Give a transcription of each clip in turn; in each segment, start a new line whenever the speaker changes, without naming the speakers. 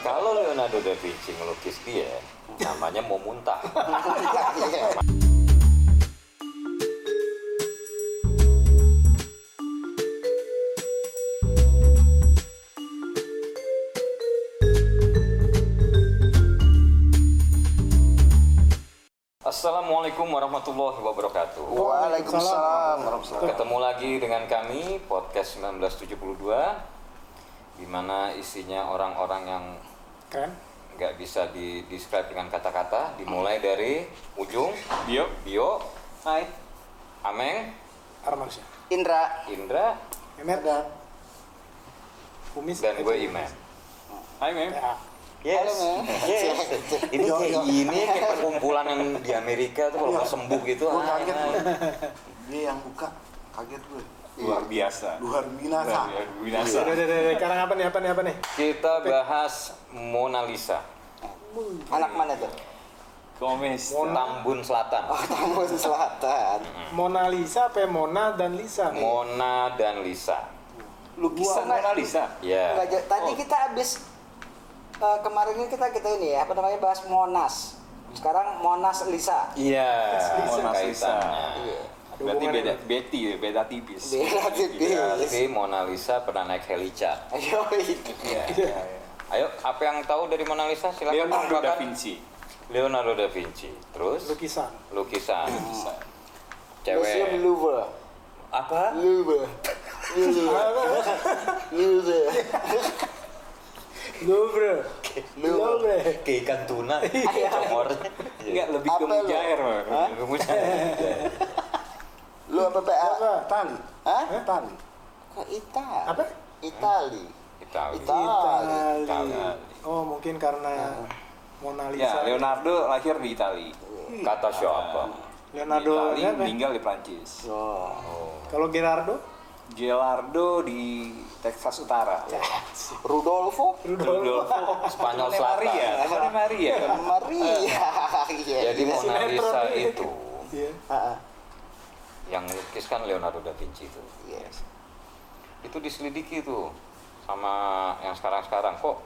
Kalau Leonardo da Vinci ngelukis dia, namanya mau muntah. Assalamualaikum warahmatullahi wabarakatuh.
Waalaikumsalam warahmatullahi
Ketemu lagi dengan kami podcast 1972 di mana isinya orang-orang yang
Keren.
nggak bisa di describe dengan kata-kata dimulai dari ujung
Bio,
Bio,
Hai.
Ameng,
Armansyah.
Indra.
Indra
Emet. Kumis.
dan gue Iman.
hai Mem.
Ya.
Yes.
Halo, Mem.
yes. Ini
Yo,
kayak
yo.
gini kayak perkumpulan yang di Amerika tuh kalau mau sembuh gitu.
Gua
ah,
kaget,
enak.
Dia yang buka, kaget gue.
Luar biasa.
Luar binasa.
Luar
Udah,
biasa.
udah, udah, udah. Sekarang apa nih? Apa nih? Apa nih?
Kita bahas Mona Lisa,
Anak mana tuh?
Komis.
Tambun Selatan.
Oh, Tambun Selatan.
Mona Lisa, apa ya? Mona dan Lisa. nih?
Mona dan Lisa.
Lukisan
Mona Lisa.
Ya.
Nggak jauh. Tadi kita habis eh, kemarin ini kita kita ini ya, apa namanya bahas Monas. Sekarang Monas Lisa.
Iya,
Lisa.
Mona Lisa.
Iya.
Ada
Berarti
hubungannya
beda
nih.
Betty, ya, beda tipis.
Beda tipis.
Berarti Mona Lisa pernah naik helica.
Ayo.
Ayo, apa yang tahu dari Mona Lisa? Silakan
iya. Leonardo da
tambahkan.
Vinci.
Leonardo da Vinci. Terus
Lukisan.
lukisan.
Hmm. Museum
Cewek.
Louvre.
Apa?
Louvre. Louvre. Louvre.
Louvre.
Louvre.
Louvre.
Keikan tuna. Comor. Iya.
Enggak lebih ke
Apa lu?
mujair. Mem.
Lu apa PA?
Apa?
Tali.
Hah?
Tali.
Ke Ita.
Apa?
Itali.
Kita.
Itali.
Itali.
Itali.
Oh, mungkin karena Mona
Ya,
Lisa.
Leonardo lahir di Itali.
Hmm.
Kata siapa?
Leonardo.
di Itali,
kan, ya?
meninggal di Prancis.
Oh.
Kalau Gerardo?
Gerardo di Texas Utara.
Rudolfo.
Rudolfo
Spanyol
Mone
Selatan.
Maria. Mone Maria.
Maria. Iya.
Jadi
iya.
Mona
Sinetron
Lisa gitu.
ini.
itu
Iya.
Ah, ah.
yang melukiskan Leonardo da Vinci itu.
Yes.
itu diselidiki tuh sama yang sekarang-sekarang kok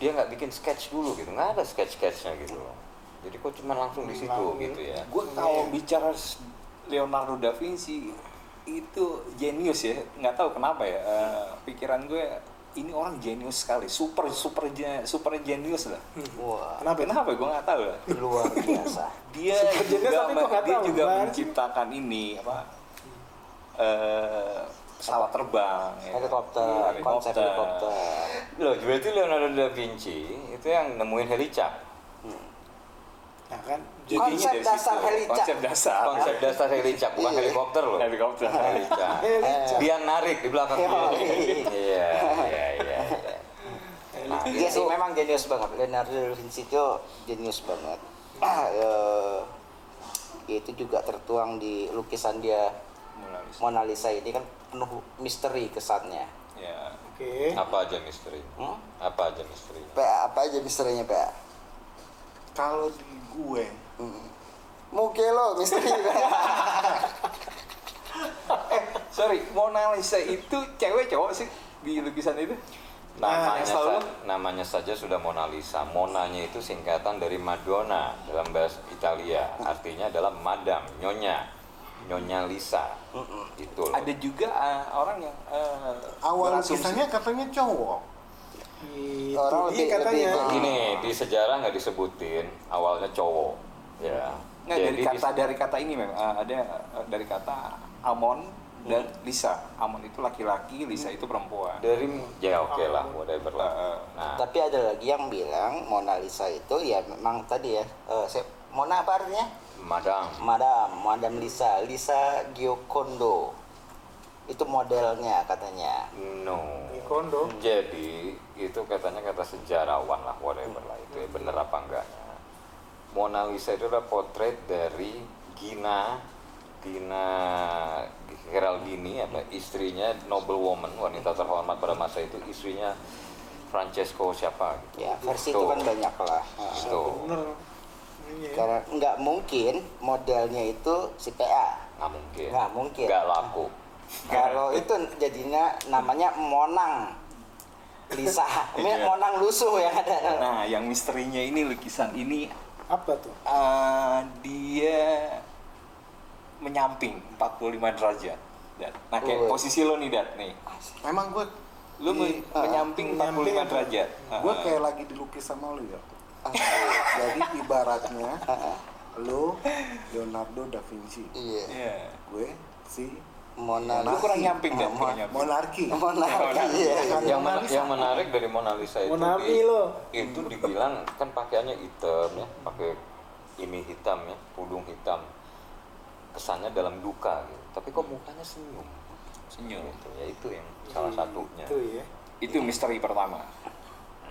dia nggak bikin sketch dulu gitu nggak ada sketch sketchnya gitu loh jadi kok cuma langsung di situ gitu ya
Gue kalau bicara Leonardo da Vinci itu jenius ya, nggak tahu kenapa ya. eh, pikiran gue ini orang jenius sekali, super super je- super jenius lah.
Hmm. Wah,
Kenapa? Kenapa?
Kenapa gue nggak tahu lah.
luar biasa.
Dia
Super jenius
juga,
tapi gua nggak
dia
tahu,
juga
gimana sih?
menciptakan ini apa eh, pesawat terbang, ya. Iya,
Helikopter, konsep helikopter.
loh berarti Leonardo da Vinci itu yang nemuin helica
Nah, kan.
Jadinya
Konsep
dari
dasar
situ,
helica.
Konsep dasar.
konsep dasar helica bukan
Iya.
helikopter loh
Helikopter. Oh,
helica
Helica.
dia narik di belakang
Iya.
dia iya iya iya iya. nah
Iya
Dia
itu
Iya sih memang jenius banget. Leonardo da Vinci itu jenius banget. Eh, ya itu juga tertuang di lukisan dia
Mona Lisa.
Mona Lisa ini kan penuh misteri kesannya.
Ya.
Oke.
iya. apa aja misteri
Hmm?
apa aja misteri
PA apa aja misterinya PA?
Kalau di gue,
Muke lo misteri.
Eh, Sorry, Mona Lisa itu cewek cowok sih di lukisan itu? Nah,
Namanya,
Nah,
yang selalu
sa- namanya saja sudah Mona Lisa. Monanya itu singkatan dari Madonna dalam bahasa Italia. Artinya adalah Madam, Nyonya, Nyonya Lisa. Itu loh.
ada juga eh, orang yang eh,
awal
berasumsi-
lukisannya katanya cowok.
Itu
Orang
dia
lebih-
katanya.
lebih ke-
Gini, di sejarah nggak disebutin awalnya cowok. Ya.
Nggak, dari
di-
kata dari kata ini memang eh, ada eh, dari kata Amon dan Lisa. Amon itu laki-laki, Lisa itu perempuan.
dari ya oke lah, whatever lah.
Eh,
Nah,
Tapi ada lagi yang bilang Mona Lisa itu ya memang tadi ya. eh, saya- Mona apa artinya?
Madam.
Madam, Madam Lisa, Lisa Giocondo. Itu modelnya katanya.
No.
Di kondo.
Jadi itu katanya kata sejarawan lah whatever lah itu ya, bener apa enggaknya. Mona Lisa itu adalah potret dari Gina Gina Geraldini apa istrinya noblewoman wanita terhormat pada masa itu istrinya Francesco siapa gitu.
Ya, versi itu
Tuh.
kan banyak lah. Nah,
Tuh.
Bener. Iya.
Karena nggak mungkin modelnya itu si PA.
Nggak mungkin.
Nggak mungkin.
Nggak laku.
Kalau itu jadinya namanya Monang. Lisa,
Iya.
Monang lusuh yang ada.
Nah, yang misterinya ini lukisan ini
Apa tuh?
eh, dia menyamping 45 derajat. Dat. Nah, kayak
Oh.
posisi lo nih, Dat nih.
Emang gue
Lu men-
di- ah,
menyamping 45 derajat.
gue
Ah,
kayak lagi dilukis sama lu ya. Jadi ibaratnya
Ah,
lu Leonardo da Vinci,
Iya.
Iya.
gue si
Monang.
Lu kurang nyamping, Dat. kurang nyamping.
monarki.
Monang.
Monang.
Iya.
yang, mena- yang menarik dari Mona Lisa itu
Mona
di-
Lilo.
itu dibilang kan pakaiannya hitam ya pakai ini hitam ya pudung hitam kesannya dalam duka gitu tapi kok mukanya senyum
Senyum.
gitu ya itu yang salah satunya
Itu ya.
Itu misteri pertama.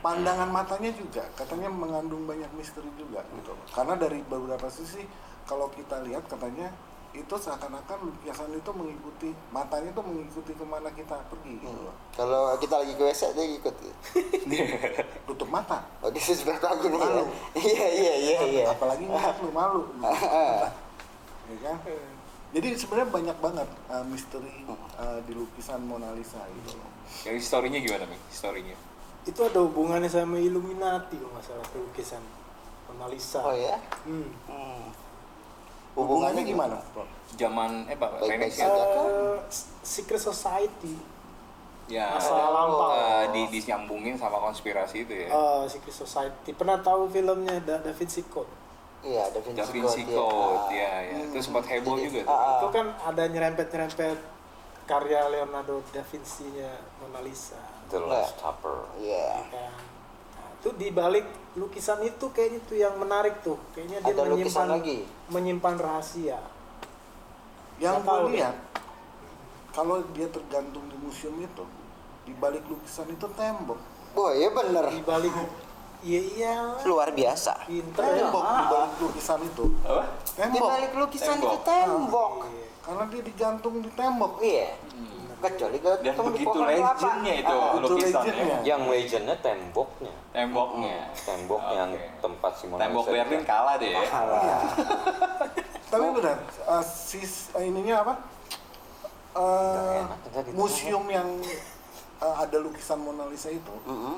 pandangan matanya juga katanya mengandung banyak misteri juga gitu karena dari beberapa sisi kalau kita lihat katanya itu seakan-akan lukisan itu mengikuti matanya itu mengikuti kemana kita pergi gitu
Hmm.
loh
Kalau kita lagi ke WC dia ikut.
tutup mata
Oh, di sebelah lagi nih. ya.
Malu.
Iya, iya, iya, iya.
apalagi ngeliat lu malu lu. ya kan jadi sebenarnya banyak banget uh, misteri uh, di lukisan Mona Lisa gitu loh
Yang historinya gimana, Mi? Historinya.
Itu ada hubungannya sama Illuminati kalau nggak salah pelukisan Mona Lisa.
Oh ya.
Hmm.
Hmm.
hubungannya gimana Prof?
Zaman eh Pak
Baik-baik
Renaissance.
saja. Silakan.
Eh, Secret Society.
Ya.
Masa
eh,
Oh.
lampau.
di disambungin sama konspirasi itu ya.
Eh, Secret Society. Pernah tahu filmnya Da, Da Vinci Code?
Iya, Da Vinci
Da Vinci
Code,
Code,
iya.
ya, ya. Itu sempat heboh
Jadi,
juga
ah,
tuh.
ah.
Itu kan ada nyerempet-nyerempet karya Leonardo da Vinci-nya Mona Lisa.
the last supper
Iya.
Kan. Nah, itu di balik lukisan itu kayaknya tuh yang menarik tuh. Kayaknya dia
Ada lukisan
menyimpan
lagi?
menyimpan rahasia. Nggak
yang gue
tahu deh.
lihat kalau dia tergantung di museum itu di balik lukisan itu tembok
Wah, iya bener.
Di balik Iya iyalah.
Luar biasa.
Pinter ya.
tembok di balik lukisan itu
Apa?
Ah. Di
tembok
balik lukisan
Tembok.
itu tembok.
Iya.
karena dia digantung di tembok
Iya. Kecuali kalau
Hmm. Dan
ketemu di
begitu
pohon kelapa.
legendnya itu
Ah,
betul
lukisannya.
legendnya.
yang legendnya temboknya
Temboknya.
tembok
Oke.
yang tempat si Mona
Tembok
Lisa
Berlin
digantung.
kalah deh. ya.
ah.
Iya. tapi benar eh, sis eh, ininya apa Eh,
enak, gitu. ntar ditanya.
museum yang eh, ada lukisan Mona Lisa itu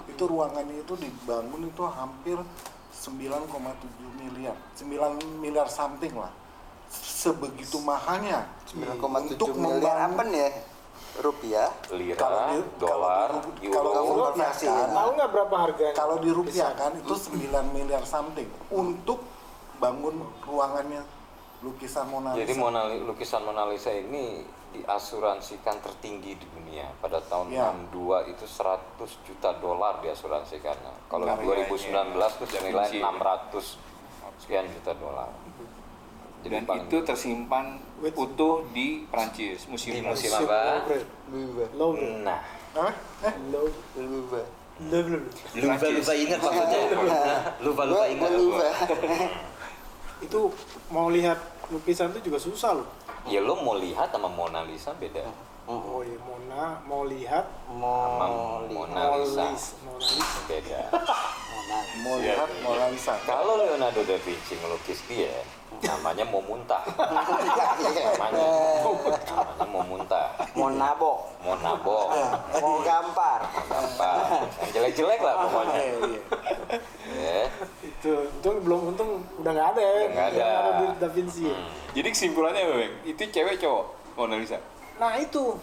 itu ruangannya itu dibangun itu hampir 9,7 miliar 9 miliar something lah sebegitu mahalnya
9,7
Untuk
miliar
membangun-
apa nih? ya? Rupiah.
lira
Kalau di-
dolar
kalau di-
euro
kalau
Kalau
Iya,
konversi.
kan.
ya.
Tahu nggak berapa harganya?
Eh, kalau kan? dirupiahkan itu 9 miliar something untuk bangun ruangannya lukisan Mona Lisa.
Jadi Mona Li- lukisan Mona Lisa ini diasuransikan tertinggi di dunia. Pada tahun
Ya.
62 itu 100 juta dolar diasuransikannya. Kalau
Harganya.
2019 itu senilai
Kunci.
600 sekian juta dolar. Jadi
Dan
paling-
itu tersimpan
Wait.
utuh di Prancis, museum
Di
Prancis.
museum. apa?
Luba.
Louvre.
Nah,
Hah? Eh,
Louvre.
Luba.
Louvre. Louvre.
lupa lupa ingat maksudnya lupa lupa
Gua- gua
ingat
Luba.
Itu mau lihat lukisan itu juga susah loh.
ya lo mau lihat sama Mona Lisa beda.
Oh iya, Mona mau lihat
Sama
Mau
Mona
Mona
Lisa
Lisa. Mona Lisa.
beda.
mau lihat
Iya.
Mona Lisa.
Kalau Leonardo da Vinci ngelukis dia, namanya mau muntah. Namanya, namanya mau muntah.
Mau nabok.
Mau nabok.
Mau gampar.
apa yang jelek-jelek lah pokoknya
Eh, iya.
ya
Itu untung belum untung udah nggak ada ya.
Udah nggak ada. Hmm.
Leonardo di Da Vinci. ya.
Jadi kesimpulannya apa, Bang? Itu cewek cowok Mona Lisa.
Nah itu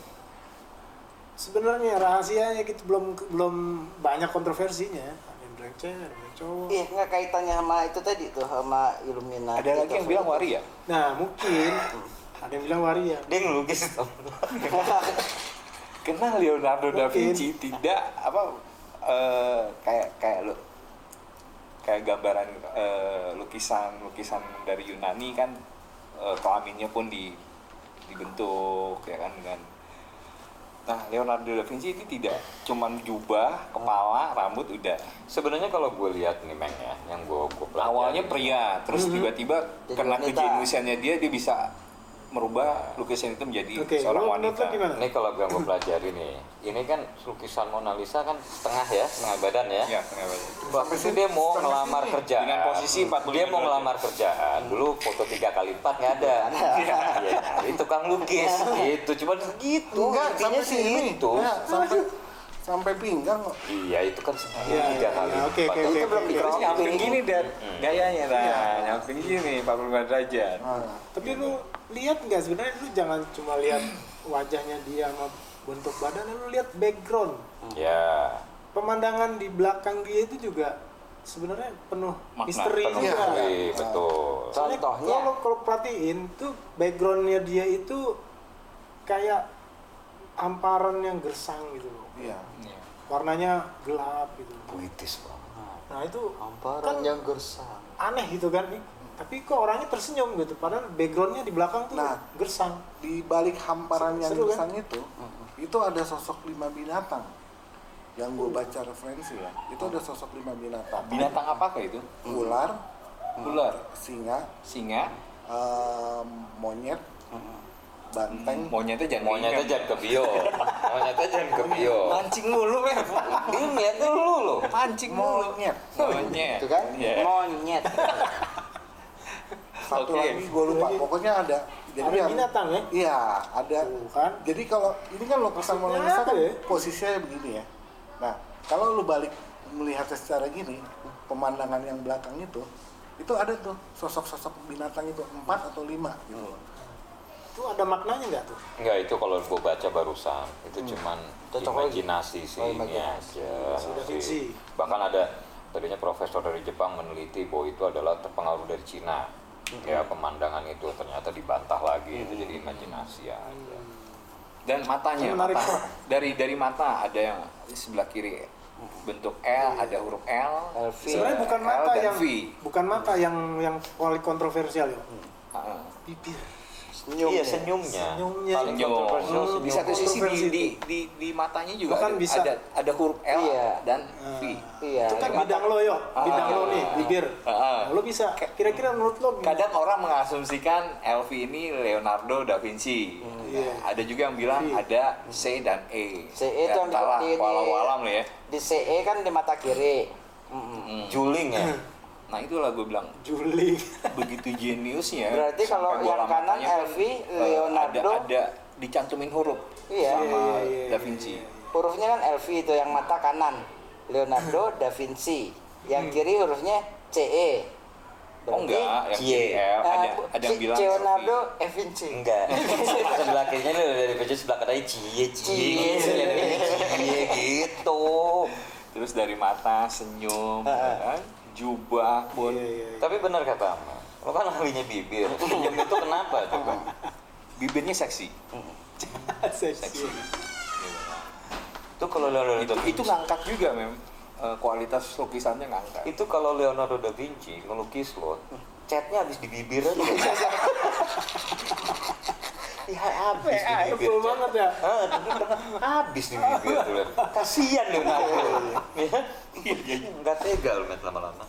sebenarnya rahasianya gitu belum belum banyak kontroversinya. Ada yang bilang cewek, ada yang bilang cowok.
Iya, nggak kaitannya sama itu tadi tuh sama Illuminati.
Ada lagi yang
tuh.
bilang ya? waria.
Nah mungkin ada yang bilang waria.
dia ngelukis
Karena Leonardo da
Mungkin.
Vinci tidak apa eh, kayak kayak lo kayak gambaran eh, lukisan lukisan dari Yunani kan eh, kelaminnya pun di dibentuk ya kan dengan Nah, Leonardo da Vinci ini tidak cuman jubah, kepala, rambut udah.
sebenarnya kalau gue lihat nih meng ya yang gue gue pelajari
Iya,
awalnya pria terus
Mm-hmm.
tiba-tiba
Jadi
karena
wanita.
kejeniusannya dia dia bisa merubah lukisan itu menjadi
Oke,
seorang
lu menurut
wanita
lu gimana?
ini kalau gue gue pelajari nih ini kan lukisan Mona Lisa kan setengah ya setengah badan ya,
ya kenapa
Waktu itu dia mau ngelamar kerjaan
Dengan
Dia
posisi 45
mau
derajat.
ngelamar kerjaan Dulu foto tiga kali empat nggak ada Iya,
Iya.
Jadi tukang lukis gitu Cuman segitu
Enggak,
Intinya
sampai
sih
sini.
itu
Enggak, sampai sampai pinggang kok.
Iya itu kan sebenarnya
Iya,
tiga
iya,
kali.
iya. Oke,
lipat. kan?
oke, oke,
Itu belum
oke.
diketahui.
Terus nyamping gini dan gayanya dah,
Iya.
nyamping gini 45 derajat.
Nah,
Tapi lu lihat nggak sebenarnya lu jangan cuma lihat wajahnya dia sama bentuk badannya lu lihat background.
Ya.
Pemandangan di belakang dia itu juga sebenarnya penuh
Makna,
misteri
penuh
juga.
Iya, betul.
Soalnya
Contohnya?
kalau kalau perhatiin tuh backgroundnya dia itu kayak hamparan yang gersang gitu loh.
iya.
Iya.
Warnanya gelap gitu. loh.
Puitis banget.
Nah itu
Hamparan
Kan-
yang gersang.
aneh gitu kan nih. Tapi kok orangnya tersenyum gitu, padahal backgroundnya di belakang tuh
Nah.
gersang.
Di balik hamparan yang
Seru, kan?
gersang itu, itu ada sosok lima binatang. Yang gue baca referensi ya, itu ada sosok lima binatang.
Binatang apakah itu?
Ular,
Ular,
singa,
singa,
eh, monyet, banteng,
monyetnya jangan
Monyetnya
diingat.
jangan ke bio. Monyetnya jangan ke bio.
Pancing mulu, men. Dia
ya,
ngeliatnya lu loh. Pancing mulu.
monyet.
Monyet.
Itu kan
Iya.
monyet.
Satu
Oke.
lagi gue lupa, pokoknya ada.
Iya, Ada
yang-
binatang ya?
Iya, ada.
Tuh kan.
Jadi kalau ini kan lokasi
Maksudnya
Mona Lisa
apa
kan
ya?
posisinya begini ya. Nah, kalau lu balik melihatnya secara gini, pemandangan yang belakang itu, itu ada tuh sosok-sosok binatang itu empat atau lima gitu loh.
Itu ada maknanya nggak tuh?
Enggak itu kalau gue baca barusan itu
Hmm.
cuman
Cocok lagi.
imajinasi sih
Oh,
ini
imajinasi.
aja.
Sudah
sih.
fiksi.
Bahkan ada tadinya profesor dari Jepang meneliti bahwa itu adalah terpengaruh dari Cina. Ya pemandangan itu ternyata dibantah lagi itu jadi imajinasi aja.
dan matanya
Menarik,
mata.
Pak.
dari dari mata ada yang di sebelah kiri bentuk L ada huruf L
V.
Sebenarnya bukan
L
mata
dan Hmm.
yang
V
bukan mata yang yang paling kontroversial ya.
Hmm. Heeh.
Bibir.
Senyum.
Iya
ya.
senyumnya.
Senyumnya.
Paling
Senyum.
kontroversial
Hmm,
senyum.
di satu sisi di,
Kontroversi
di, di, di matanya juga
Bahkan
ada,
bisa.
ada ada huruf L
Iya.
dan V
Iya.
itu kan
iya.
bidang lo yo, bidang lo nih, bibir.
Ah.
Nah, lo bisa. Kira-kira menurut lo gimana?
kadang orang mengasumsikan LV ini Leonardo da Vinci
Hmm,
Iya.
Nah, ada juga yang bilang
V.
ada C dan E
CE itu yang di-
entahlah,
di- di-
walau-walam lah ya Hmm.
Di CE kan di mata kiri. Mm-mm.
Juling ya.
nah itulah gue bilang
Juli.
begitu jeniusnya.
Berarti kalau
sampai
yang
bola
kanan
matanya kan,
LV,
eh,
Leonardo.
ada, ada dicantumin huruf
Iya.
sama
Iya, iya, iya,
Da Vinci. Oh,
Hurufnya kan LV itu yang mata kanan. Leonardo da Vinci. Yang kiri hurufnya CE.
Hmm. Oh enggak, yang
Cie.
Cie. L,
eh,
ada
bu-
ada yang
C-
bilang
Leonardo
Sophie.
da Vinci.
Enggak. sebelah kirinya ini udah dari baju sebelah kanannya cie cie
Cie.
cie cie gitu.
Terus dari mata, senyum,
Ah,
ya kan? jubah pun.
Iya,
Tapi benar kata Amal. Lo kan ahlinya bibir. Senyum itu kenapa coba?
Bibirnya seksi. iya.
Seksi.
Itu kalau Leonardo
Itu,
da Vinci.
itu ngangkat juga mem. Eh, kualitas lukisannya ngangkat.
Itu kalau Leonardo da Vinci ngelukis lo, catnya habis di bibir aja. Ya habis di
Ah,
Iya.
bibir.
Tebel
cat.
banget ya.
Ah, tapi pernah habis di bibir tuh. Len. Kasihan Leonardo. Ya. Enggak tega lo met lama-lama.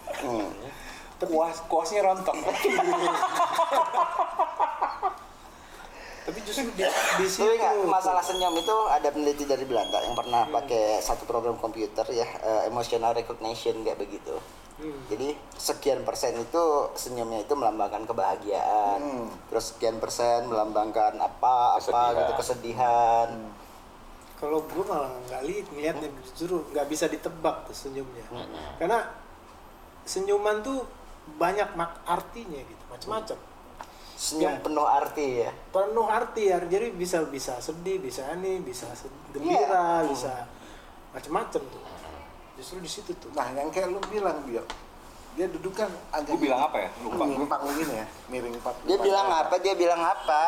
Kuas, kuasnya rontok.
Tapi justru di, di situ.
Lu ingat masalah senyum itu ada peneliti dari Belanda yang pernah
Hmm.
pakai satu program komputer ya eh, emotional recognition kayak begitu.
Hmm.
Jadi sekian persen itu senyumnya itu melambangkan kebahagiaan,
Hmm.
terus sekian persen melambangkan apa apa
Kesedihan.
gitu kesedihan.
Hmm.
Kalau gue malah nggak lihat ngeliatnya justru nggak bisa ditebak tuh senyumnya.
Hmm.
Karena senyuman tuh banyak mak artinya gitu macam-macam
Senyum
Ya.
penuh arti ya.
penuh arti ya jadi bisa bisa sedih bisa ini bisa se- gembira
Iya.
bisa macam-macam tuh justru di situ tuh
Nah, yang kayak lu bilang, Bio, dia duduk kan agak
Gue bilang apa ya? Lupa.
menyimpang begini ya, miring empat.
Dia
empat-
bilang
empat.
apa? Dia bilang apa?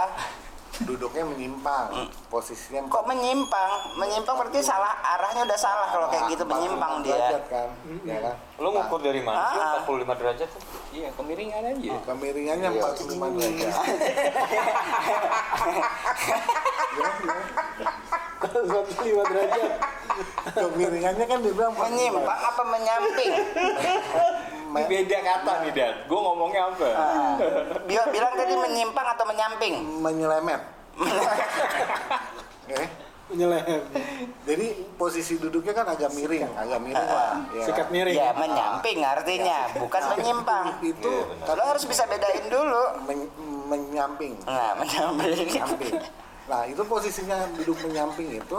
Duduknya menyimpang, posisinya
Kok menyimpang? Menyimpang berarti salah arahnya udah salah kalau kayak gitu
empat puluh
menyimpang
empat
dia.
derajat Nah, kan, ya kan?
Lo ngukur dari mana? sih?
Ah.
45 derajat tuh.
Iya, kemiringan aja.
Kemiringannya 45 derajat. Gimana, gimana?
Kalau 45 derajat
Kemiringannya kan dia bilang 45.
Menyimpang apa menyamping?
Ini beda kata nih, Dan. Gue ngomongnya apa?
Dia bilang tadi menyimpang atau menyamping?
menyelemet. Oke.
menyelem
Jadi posisi duduknya kan agak miring, agak miring lah. ya.
sikat miring
Ya menyamping artinya, bukan menyimpang.
Itu
Iya, benar.
Lo harus bisa bedain dulu.
men- menyamping.
Nah, menyamping.
Menyamping. Nah itu posisinya duduk menyamping itu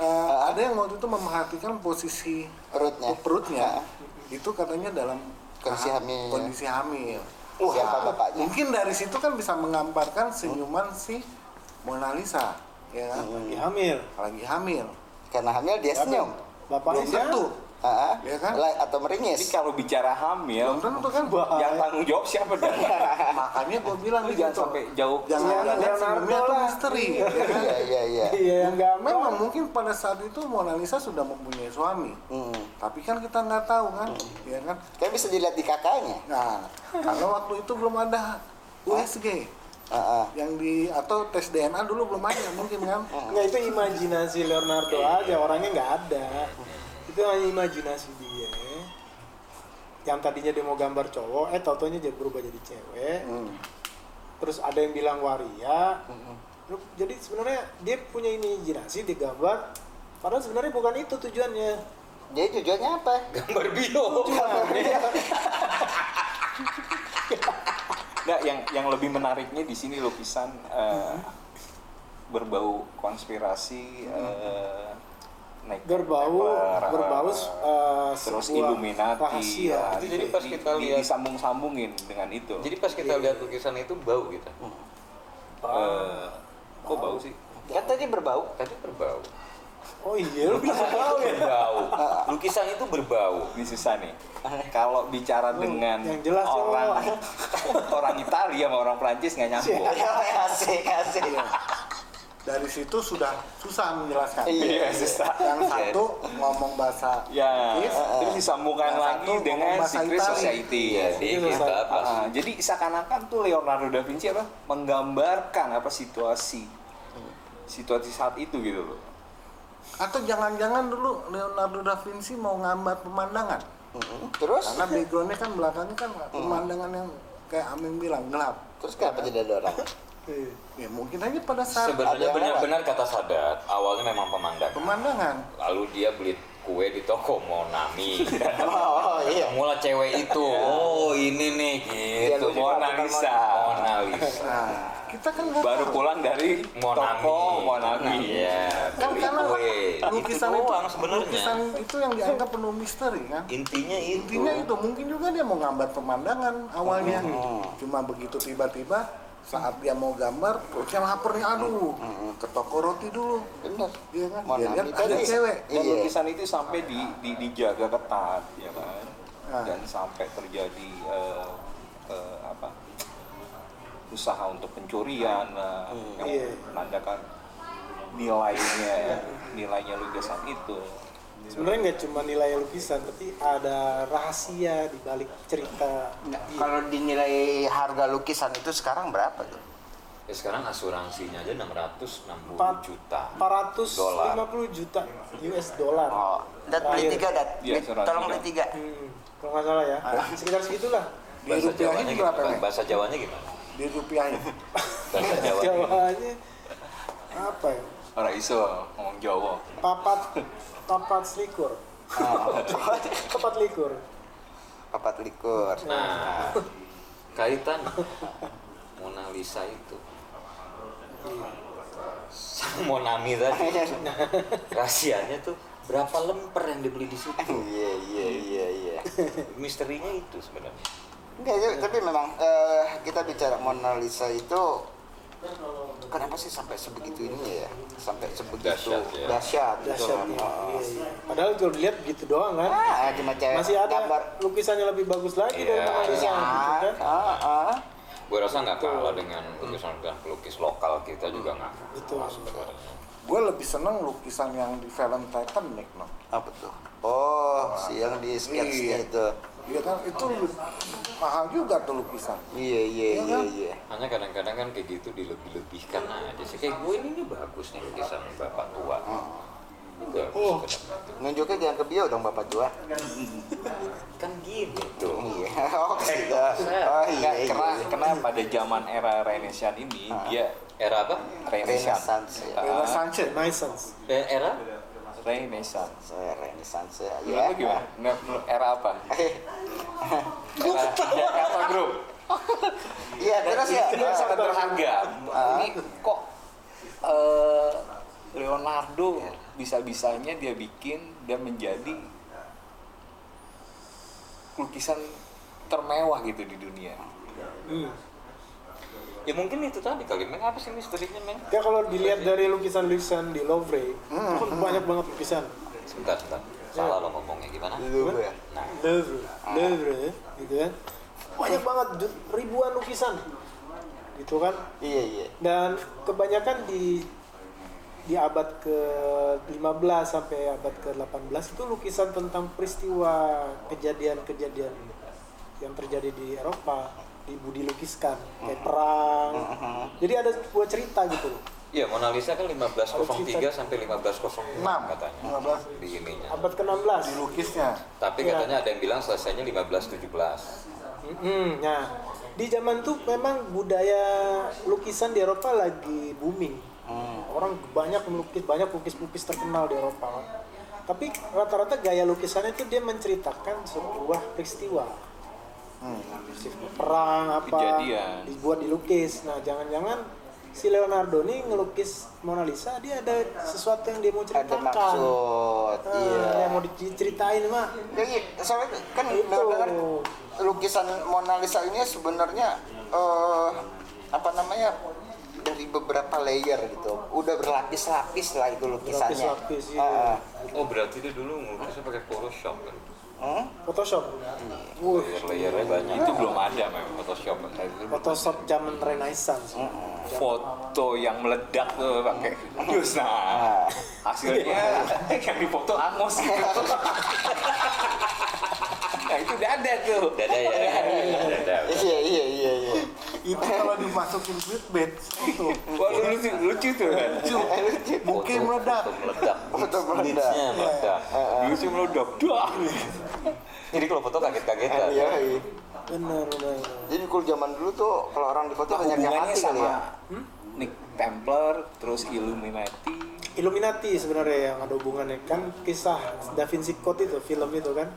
eh, ada yang waktu itu memerhatikan posisi
Perutnya.
perutnya
Ah.
itu katanya dalam
Kondisi
tahap-
hamil.
kondisi hamil.
Wah. Siapa bapaknya?
Mungkin dari situ kan bisa menggambarkan senyuman si Mona Lisa, ya kan?
lagi hamil
Lagi hamil.
Karena hamil dia senyum.
bapaknya
Iya, Belum tentu,
Ah,
Ya kan?
la- atau
Jadi
meringis.
kalau bicara hamil,
belum tentu kan. Ya,
yang tanggung jawab siapa dong?
Makanya gue bilang
Lu
di
jangan
situ,
sampai jauh.
jangan
Iya,
ada
Leonardo
senyumnya tuh
lah.
misteri. ya kan?
Iya iya iya.
iya yang gampang
Memang mungkin pada saat itu Mona Lisa sudah mempunyai suami,
Hmm.
tapi kan kita nggak tahu kan, ya kan?
Kan bisa dilihat di kakaknya.
Nah, karena waktu itu belum ada USG
Ah, ah.
yang di atau tes DNA dulu belum ada mungkin kan?
nggak itu imajinasi Leonardo aja orangnya nggak ada itu hanya imajinasi dia yang tadinya dia mau gambar cowok eh totonya dia berubah jadi cewek
Hmm.
terus ada yang bilang waria Terus jadi sebenarnya dia punya imajinasi dia gambar padahal sebenarnya bukan itu tujuannya
Jadi tujuannya apa?
Gambar bio.
Nggak, yang yang lebih menariknya di sini lukisan eh, berbau konspirasi eh, naik-
berbau
naik-
berbau eh,
terus
sebuah
Illuminati
rahasia
ya,
Itu jadi pas
di-
kita
di-
lihat-
disambung-sambungin dengan itu
Jadi pas kita lihat lukisan itu bau gitu. kita.
Eh, kok bau sih
Kan tadi berbau.
Tadi berbau.
oh iya lu bisa tahu ya
Berbau. Lukisan itu berbau.
ini susah nih kalau bicara dengan
Oh, yang jelas cowok.
orang orang Italia sama orang Prancis nggak nyambung
Iya.
Asik asik.
Dari situ sudah susah menjelaskan.
Iya,
susah.
Yang satu ngomong bahasa
ya
Iya.
Inggris,
terus disambungkan
Nah,
Yang
lagi
satu
dengan
ngomong bahasa
secret
Itali.
society ya.
Iya, dia
Itu
kita
susah.
apa sih?
Ah, jadi seakan-akan tuh Leonardo da Vinci apa menggambarkan apa situasi situasi saat itu gitu loh
atau jangan-jangan dulu Leonardo da Vinci mau ngambar pemandangan.
Mm-mm. Terus
Karena backgroundnya kan belakangnya kan pemandangan yang kayak Aming bilang gelap. Kan?
terus kenapa tidak ada orang?
Iya.
Ya mungkin aja pada saat
Sebenarnya
Ada yang
benar-benar kata Sadat, awalnya memang pemandangan.
pemandangan.
Lalu dia beli kue di toko Monami.
Oh iya.
Mula cewek itu, oh ini nih
Dia
gitu.
lupa,
Mona
bukan
Lisa. Mona Lisa.
Nah, kita kan nggak
baru
tahu.
pulang dari
Monami.
toko Monami
Iya.
kan
beli
karena
kue.
lukisan
Itu
itu,
doang sebenarnya.
lukisan itu yang dianggap penuh misteri kan.
Intinya itu.
Intinya itu mungkin juga dia mau gambar pemandangan awalnya, cuma begitu tiba-tiba saat dia mau gambar perutnya lapar nih aduh ke toko roti dulu
Benar.
iya kan
Mau
dia lihat
gitu
nangis
ada
tadi.
cewek
dan
Iya.
lukisan itu sampai di, di- dijaga ketat ya kan
Ah.
dan sampai terjadi eh, eh, apa usaha untuk pencurian lah, yang
Iya.
menandakan nilainya ya, nilainya lukisan itu
sebenarnya nggak cuma nilai lukisan tapi ada rahasia di balik cerita Iya.
Kalau dinilai harga lukisan itu sekarang berapa tuh?
Ya, sekarang asuransinya aja 660
Empat-
juta.
450 juta US dollar
Oh, dat beli
Terakhir.
tiga dat.
Iya,
Beli-
surat
Tolong
tiga.
beli tiga.
Hmm, kalau nggak salah ya
Ah.
sekitar segitulah
di
Bahasa
rupiahnya
Jawanya gitu kan,
berapa
gimana?
nih
Bahasa Jawanya gimana?
di ya? rupiahnya
Bahasa Jawanya.
jawabannya apa ya
orang iso ngomong Jawa
papat papat selikur
Oh.
papat likur
Papat likur.
Nah, kaitan Mona Lisa itu sang Monami tadi rahasianya tuh berapa lemper yang dibeli di situ
Iya iya iya iya.
misterinya itu sebenarnya
Enggak, ya, tapi memang eh, kita bicara Mona Lisa itu kenapa sih sampai sebegitu ini ya? Sampai sebegitu
Dahsyat, ya.
dahsyat gitu
dahsyat
kan.
ya.
Oh.
Iya, iya. padahal kalau dilihat gitu doang kan
Ah, cuma cewek
masih ada
gambar.
lukisannya lebih bagus lagi dari
Iya.
Mona Lisa
Ya,
gitu kan
ah, ah.
gue rasa nggak kalah dengan lukisan-lukisan pelukis lokal kita juga nggak kalah
Betul.
sebenarnya.
gue lebih seneng lukisan yang di film Titanic no
Apa tuh? Oh, si yang di sketsnya
Iya.
itu.
Iya kan itu lu- mahal juga tuh lukisan.
Iya iya
Iya
iya
kan?
iya.
hanya kadang-kadang kan kayak gitu dilebih-lebihkan aja sih kayak gue ini, nih bagus nih lukisan bapak tua ini bagus sebenarnya.
Nunjuknya jangan ke bio dong Bapak Tua.
kan gini tuh
Iya. Oke. dah.
eh,
Oh iya.
Nggak,
iya. Ah.
karena, karena pada zaman era Renaissance ini dia
era apa
Renaissance Ah,
Renaissance ya.
Bella Sanchez.
Renaissance
Eh, era
Renaissance
Saya Renaissance ya.
Menurut lu gimana? Menurut- menurut era apa? Era Jakarta Group.
Iya terus ya. Ah.
Ini sangat
Iya.
berharga. Ini kok eh, Leonardo bisa-bisa sisanya dia bikin dan menjadi lukisan termewah gitu di dunia.
Hmm.
ya mungkin itu tadi kali men apa sih misterinya men
Ya kalau dilihat dari lukisan-lukisan di Louvre, itu kan banyak banget lukisan.
sebentar sebentar salah lo ngomongnya gimana
Dulu ya.
nah
Louvre, Louvre, gitu kan. Banyak banget ju- ribuan lukisan. Gitu kan.
Iya iya.
Dan kebanyakan di di abad ke-15 sampai abad ke-18 itu lukisan tentang peristiwa kejadian-kejadian yang terjadi di Eropa ibu dilukiskan kayak perang. Jadi ada sebuah cerita gitu loh.
Iya, Mona Lisa kan 1503 sampai 1506
Enam.
katanya
15.
di ininya.
Abad ke-16.
dilukisnya
Tapi
Iya.
katanya ada yang bilang selesainya 1517.
Mm-mm, nah, di zaman tuh memang budaya lukisan di Eropa lagi booming.
Hmm.
Orang banyak melukis, banyak lukis-lukis terkenal di Eropa. Tapi rata-rata gaya lukisannya itu dia menceritakan sebuah peristiwa.
Hmm.
Perang apa
Kejadian.
dibuat dilukis. Nah, jangan-jangan si Leonardo nih ngelukis Mona Lisa dia ada sesuatu yang dia mau
Ada
ceritakan.
maksud.
Ah,
Iya.
Yang mau diceritain mah.
Jadi soalnya kan
Itu.
dengar lukisan Mona Lisa ini sebenarnya eh, apa namanya dari beberapa layer gitu. Udah berlapis-lapis lah itu lukisannya.
Berlapis-lapis,
Ah,
iya.
Oh, berarti dia dulu ngelukisnya pakai Photoshop kan.
ah. Hmm?
Photoshop. Wuh.
Layer-layernya banyak. Iya,
Itu belum ada memang Photoshop. Kayak gitu.
Photoshop zaman Renaissance.
Foto yang meledak tuh pakai news
Ah.
nah hasilnya eh, yang dipoto Amos gitu. nah itu udah ada tuh.
Dada ya. Dada.
Iya iya iya iya.
itu kalau dimasukin clickbait itu
Wah lu- lucu, lucu tuh kan.
Eh, lucu.
mungkin
Foto-
meledak
foto meledak.
Foto meledak.
Leads-nya meledak.
Ah,
Lucu meledak. Dah.
Jadi kalau foto kaget-kagetan.
Iya, iya.
Benar, benar. benar.
Jadi kalau zaman dulu tuh kalau orang di kota banyak yang
Hubungannya
mati kali
sama hmm?
ya.
Nick Templar, terus Illuminati.
Illuminati sebenarnya yang ada hubungannya kan kisah Da Vinci Code itu film itu kan.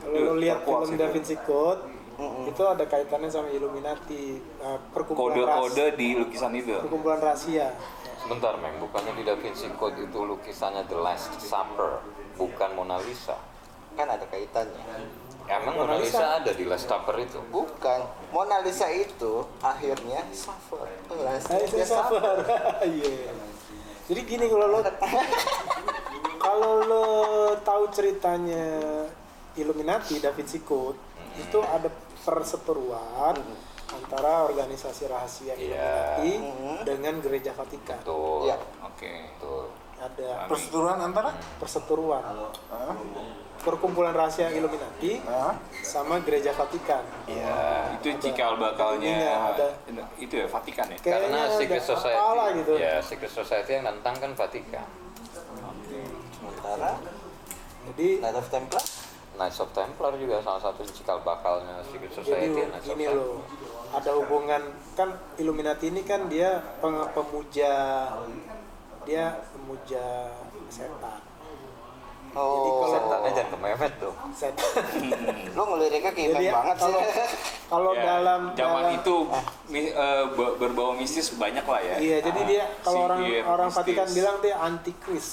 Kalau lo
Iya,
lihat
terkuak
film
sih
Da
itu.
Vinci Code itu ada kaitannya sama Illuminati eh, perkumpulan ras-
Kode-kode ya. di lukisan itu.
perkumpulan rahasia.
Sebentar, Meng. Bukannya di Da Vinci Code itu lukisannya The Last Supper, bukan Mona Lisa.
Kan ada kaitannya.
Emang Mona Lisa ada di Last Supper itu?
Bukan. Mona Lisa itu akhirnya suffer. Last
Saya saya
dia suffer.
sabar. Iya. Jadi gini kalau lo kalau lo tahu ceritanya Illuminati Da Vinci Code itu ada perseteruan antara organisasi rahasia
Iya.
Illuminati dengan Gereja Vatikan.
Betul.
Iya.
Oke.
Betul.
Ada
perseturuan antara
perseteruan
Hah?
perkumpulan rahasia Illuminati
Hah?
sama Gereja Vatikan.
Itu cikal bakalnya
Iya, ada.
itu ya Vatikan ya.
Karena
Kayaknya
Secret
ada
Society,
apalah gitu.
ya Secret Society yang nentang kan Vatikan,
Sementara
Jadi
Knight of Templar
Knights of Templar juga salah satu cikal bakalnya Secret
Jadi
Society. Knights of
ini
Templar.
loh, ada hubungan kan Illuminati ini kan dia peng- pemuja dia pemuja setan.
Oh,
Setannya jangan kememet dong.
Setan.
lo ngeliriknya keiman
Jadi ya,
banget sih.
kalau kalau
Ya,
dalam
zaman
dalam- Ah.
itu mi- eh, be- berbau mistis banyak lah ya.
Iya, jadi dia kalau orang
sihir,
orang
mistis,
Vatikan bilang dia antikris,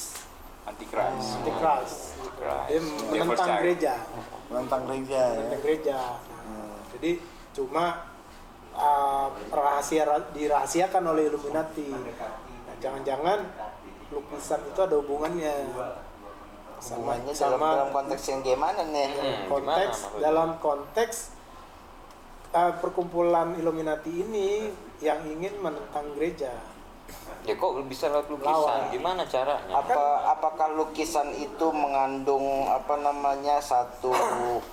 antikris.
antikras. Dia
Dia
menentang
percaya.
gereja,
menentang gereja ya
menentang gereja.
Hmm.
Jadi cuma uh, rahasia dirahasiakan oleh Illuminati. Nah, Jangan-jangan lukisan itu ada hubungannya sama
Hubungannya dalam,
sama
dalam konteks yang Hmm, gimana nih?
konteks
gimana maksudnya?
dalam konteks uh, perkumpulan Illuminati ini yang ingin menentang gereja.
Ya kok bisa lewat lukisan?
Lawan.
Gimana caranya?
Apa apakah lukisan itu mengandung apa namanya satu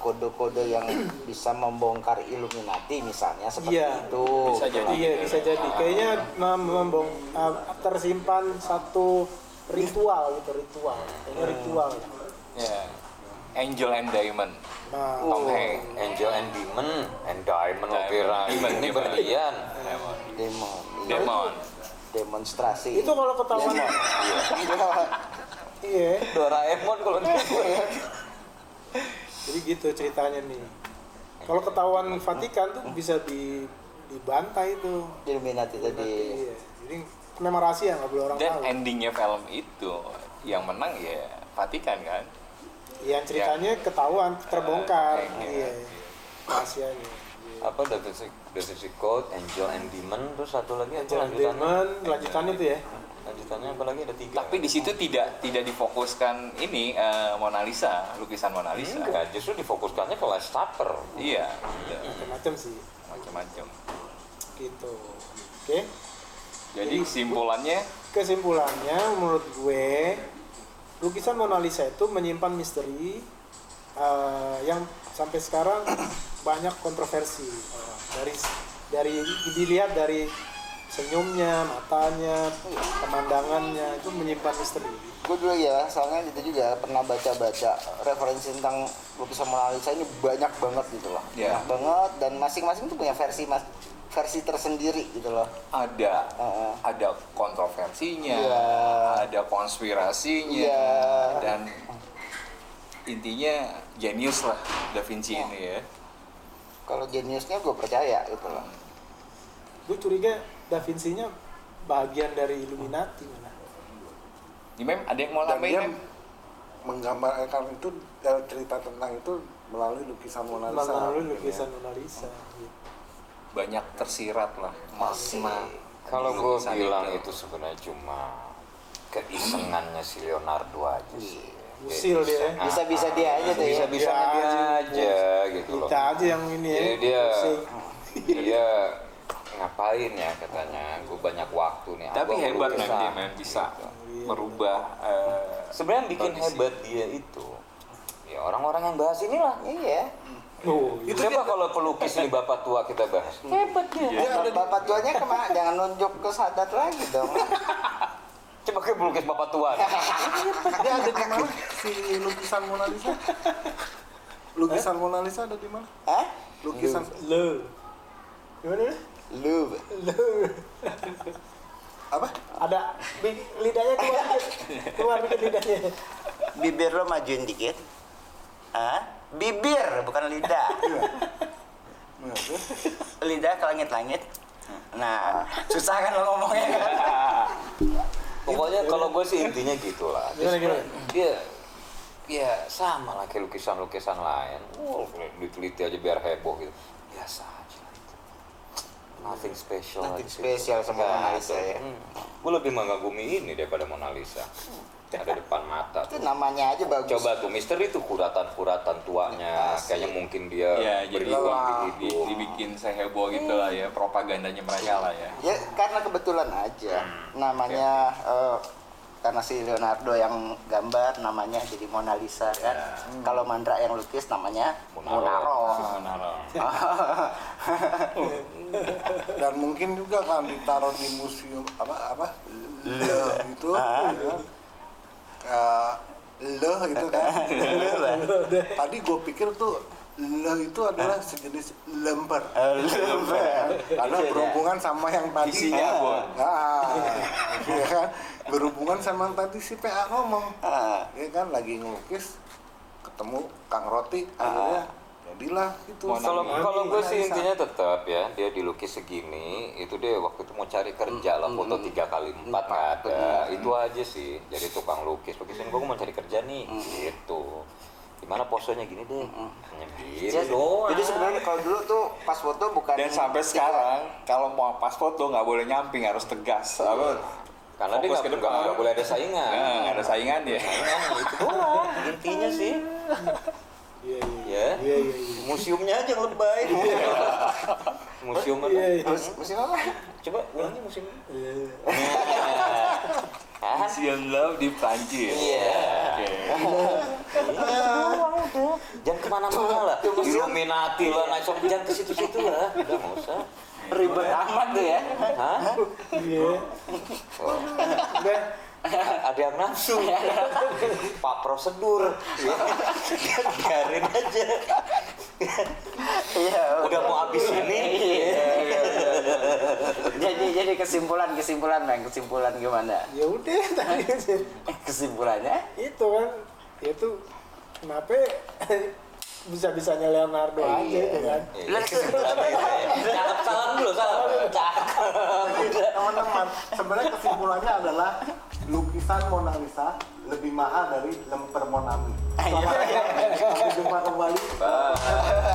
kode-kode yang bisa membongkar Illuminati misalnya seperti
Iya.
itu?
Bisa jadi.
Iya bisa jadi. Kayaknya mem- membong uh, tersimpan satu ritual gitu ritual. Kayaknya ritual.
Ya. Angel and Diamond.
Nah,
Tom Hanks, Angel and Demon, and Diamond lo kira
Diamond,
ini
Diamond.
berlian.
Demon. Iya.
Demon.
Demonstrasi.
itu kalau ketahuan iya
Doraemon kalau dia
jadi gitu ceritanya nih kalau ketahuan Vatikan tuh bisa di dibantai itu
Illuminati tadi.
iya jadi memang rahasia nggak boleh orang
Dan
tahu
endingnya film itu yang menang ya Vatikan kan.
yang Iya, ceritanya ketahuan terbongkar
Eh, eh,
iya
eh.
rahasianya
apa the basic the basic code angel and demon terus satu lagi apa
Angel and Demon, lanjutannya itu ya?
lanjutannya apa lagi ada tiga
Tapi di situ tidak tidak difokuskan ini eh, Mona Lisa, lukisan Mona
Iya,
Lisa. kan?
enggak justru difokuskannya ke last supper
Iya,
macam-macam sih
macam-macam.
gitu oke
Jadi kesimpulannya
kesimpulannya menurut gue lukisan Mona Lisa itu menyimpan misteri eh, yang sampai sekarang banyak kontroversi orang. dari dari dilihat dari senyumnya matanya pemandangannya itu menyimpan misteri
Gue dulu ya, soalnya itu juga pernah baca-baca referensi tentang lukisan Mona Lisa ini banyak banget gitu loh. Banyak
Iya.
banget dan masing-masing tuh punya versi mas versi tersendiri gitu loh.
ada
Heeh.
ada kontroversinya,
Ah. Iya.
ada konspirasinya,
Iya.
dan intinya jenius lah Da Vinci ini ya.
Kalau jeniusnya gue percaya gitu loh.
gue curiga Da Vinci-nya bagian dari Illuminati mana
Ini kan? mem ada yang mau
dan dia
nambahin? Mem?
menggambarkan itu eh, cerita tentang itu melalui lukisan Mona Lisa
melalui
mungkin ya.
lukisan Mona Lisa gitu.
Banyak tersirat lah makna.
kalau
di
gue
lukisan
bilang itu sebenarnya cuma keisengannya si Leonardo aja sih
Usil dia ya.
Ah,
Bisa-bisa dia aja tuh ya.
bisa-bisa dia aja gitu loh
kita aja yang ini ya
Jadi dia
pusing.
dia ngapain ya katanya gue banyak waktu nih
Tapi
abang
hebat mem
lukisan.
dia mem bisa merubah. eh,
sebenarnya yang bikin
Kondisi.
hebat dia itu ya orang-orang yang bahas inilah
Iya.
Tuh,
itu siapa kalau pelukis nih bapak tua kita bahas
Bapak, bapak Iya, tuanya kemana? Jangan nunjuk ke sadat lagi dong.
coba ke pelukis bapak tua nih.
dia ada di mana si lukisan Mona Lisa lukisan Mona Lisa ada di mana
Hah?
lukisan
lo gimana
Lu.
lo
apa
ada bi- lidahnya keluar dikit keluar dikit lidahnya
Bibir lo majuin dikit. Hah? Bibir bukan lidah. Iya.
Nah, terus?
lidah ke langit-langit. Nah, susah kan lo ngomongnya kan?
pokoknya
Gitu.
kalau gue sih intinya gitulah
Gimana, gimana?
dia ya sama lah kayak lukisan-lukisan lain wow diteliti aja biar heboh gitu biasa aja lah itu. nothing special
Nothing
aja.
special sama
Nggak
Mona Lisa
ada.
ya.
Hmm. gue lebih mengagumi ini daripada Mona Lisa ada depan mata
Itu
tuh.
namanya aja bagus.
coba tuh misteri tuh kuratan-kuratan tuanya kayaknya mungkin dia
ya jadi
berlibur
di-
di
di-
hidung
dibikin seheboh gitu lah ya propagandanya mereka lah ya.
Ya karena kebetulan aja.
Hmm,
Namanya eh, karena si Leonardo yang gambar namanya jadi Mona Lisa
Ya.
kan. Kalau Mandra yang lukis namanya
Munaro.
Munaro.
Menaruh.
dan mungkin juga kan ditaruh di museum apa apa leh itu ya. Eh, leh itu kan tadi gue pikir tuh leh itu adalah sejenis lemper karena berhubungan sama yang tadi
Isinya abon.
Nah, ya kan berhubungan sama yang tadi si PA ngomong ya kan lagi ngelukis ketemu Kang Roti akhirnya jadilah itu
Mona
Kalau
Lisa.
kalau gue sih
Mona Lisa.
intinya tetap ya dia dilukis segini itu dia waktu itu mau cari kerja lah foto tiga kali empat nggak ada itu aja sih jadi tukang lukis lukisan gue mau cari kerja nih gitu gimana posenya gini deh hanya gini
Jadi,
doang
Iya jadi sebenarnya kalau dulu tuh pas foto bukan
Dan sampai sekarang kalau mau pas foto nggak boleh nyamping harus tegas. Apa?
karena dia
fokus
nggak
ke depan.
nggak- nggak boleh ada saingan
Nah, nggak ada saingan ya.
Nah, itu doang intinya sih
iya iya
ya
iya iya iya.
museumnya aja yang lebay museum apa?
iya iya
Terus musim apa?
coba ulangi museum
Iya, iya.
Ah,
Museum Love di Prancis.
Iya.
Oke.
Iya.
jangan kemana-mana lah Illuminati lah naik sombong jangan ke situ-situ lah udah nggak usah
Ribet amat tuh ya.
Hah?
iya udah
ada yang nafsu pak prosedur biarin aja
Iya.
udah mau habis ini
jadi jadi kesimpulan kesimpulan bang kesimpulan gimana Eh,
ya udah tadi aja.
kesimpulannya
itu kan itu kenapa bisa bisanya Leonardo aja itu kan
Lah, itu-
cakep salam dulu salam cakep
Iya, teman-teman sebenarnya kesimpulannya adalah lukisan Mona Lisa lebih mahal dari lemper Monami. Selamat datang di Jumat kembali.
Bye.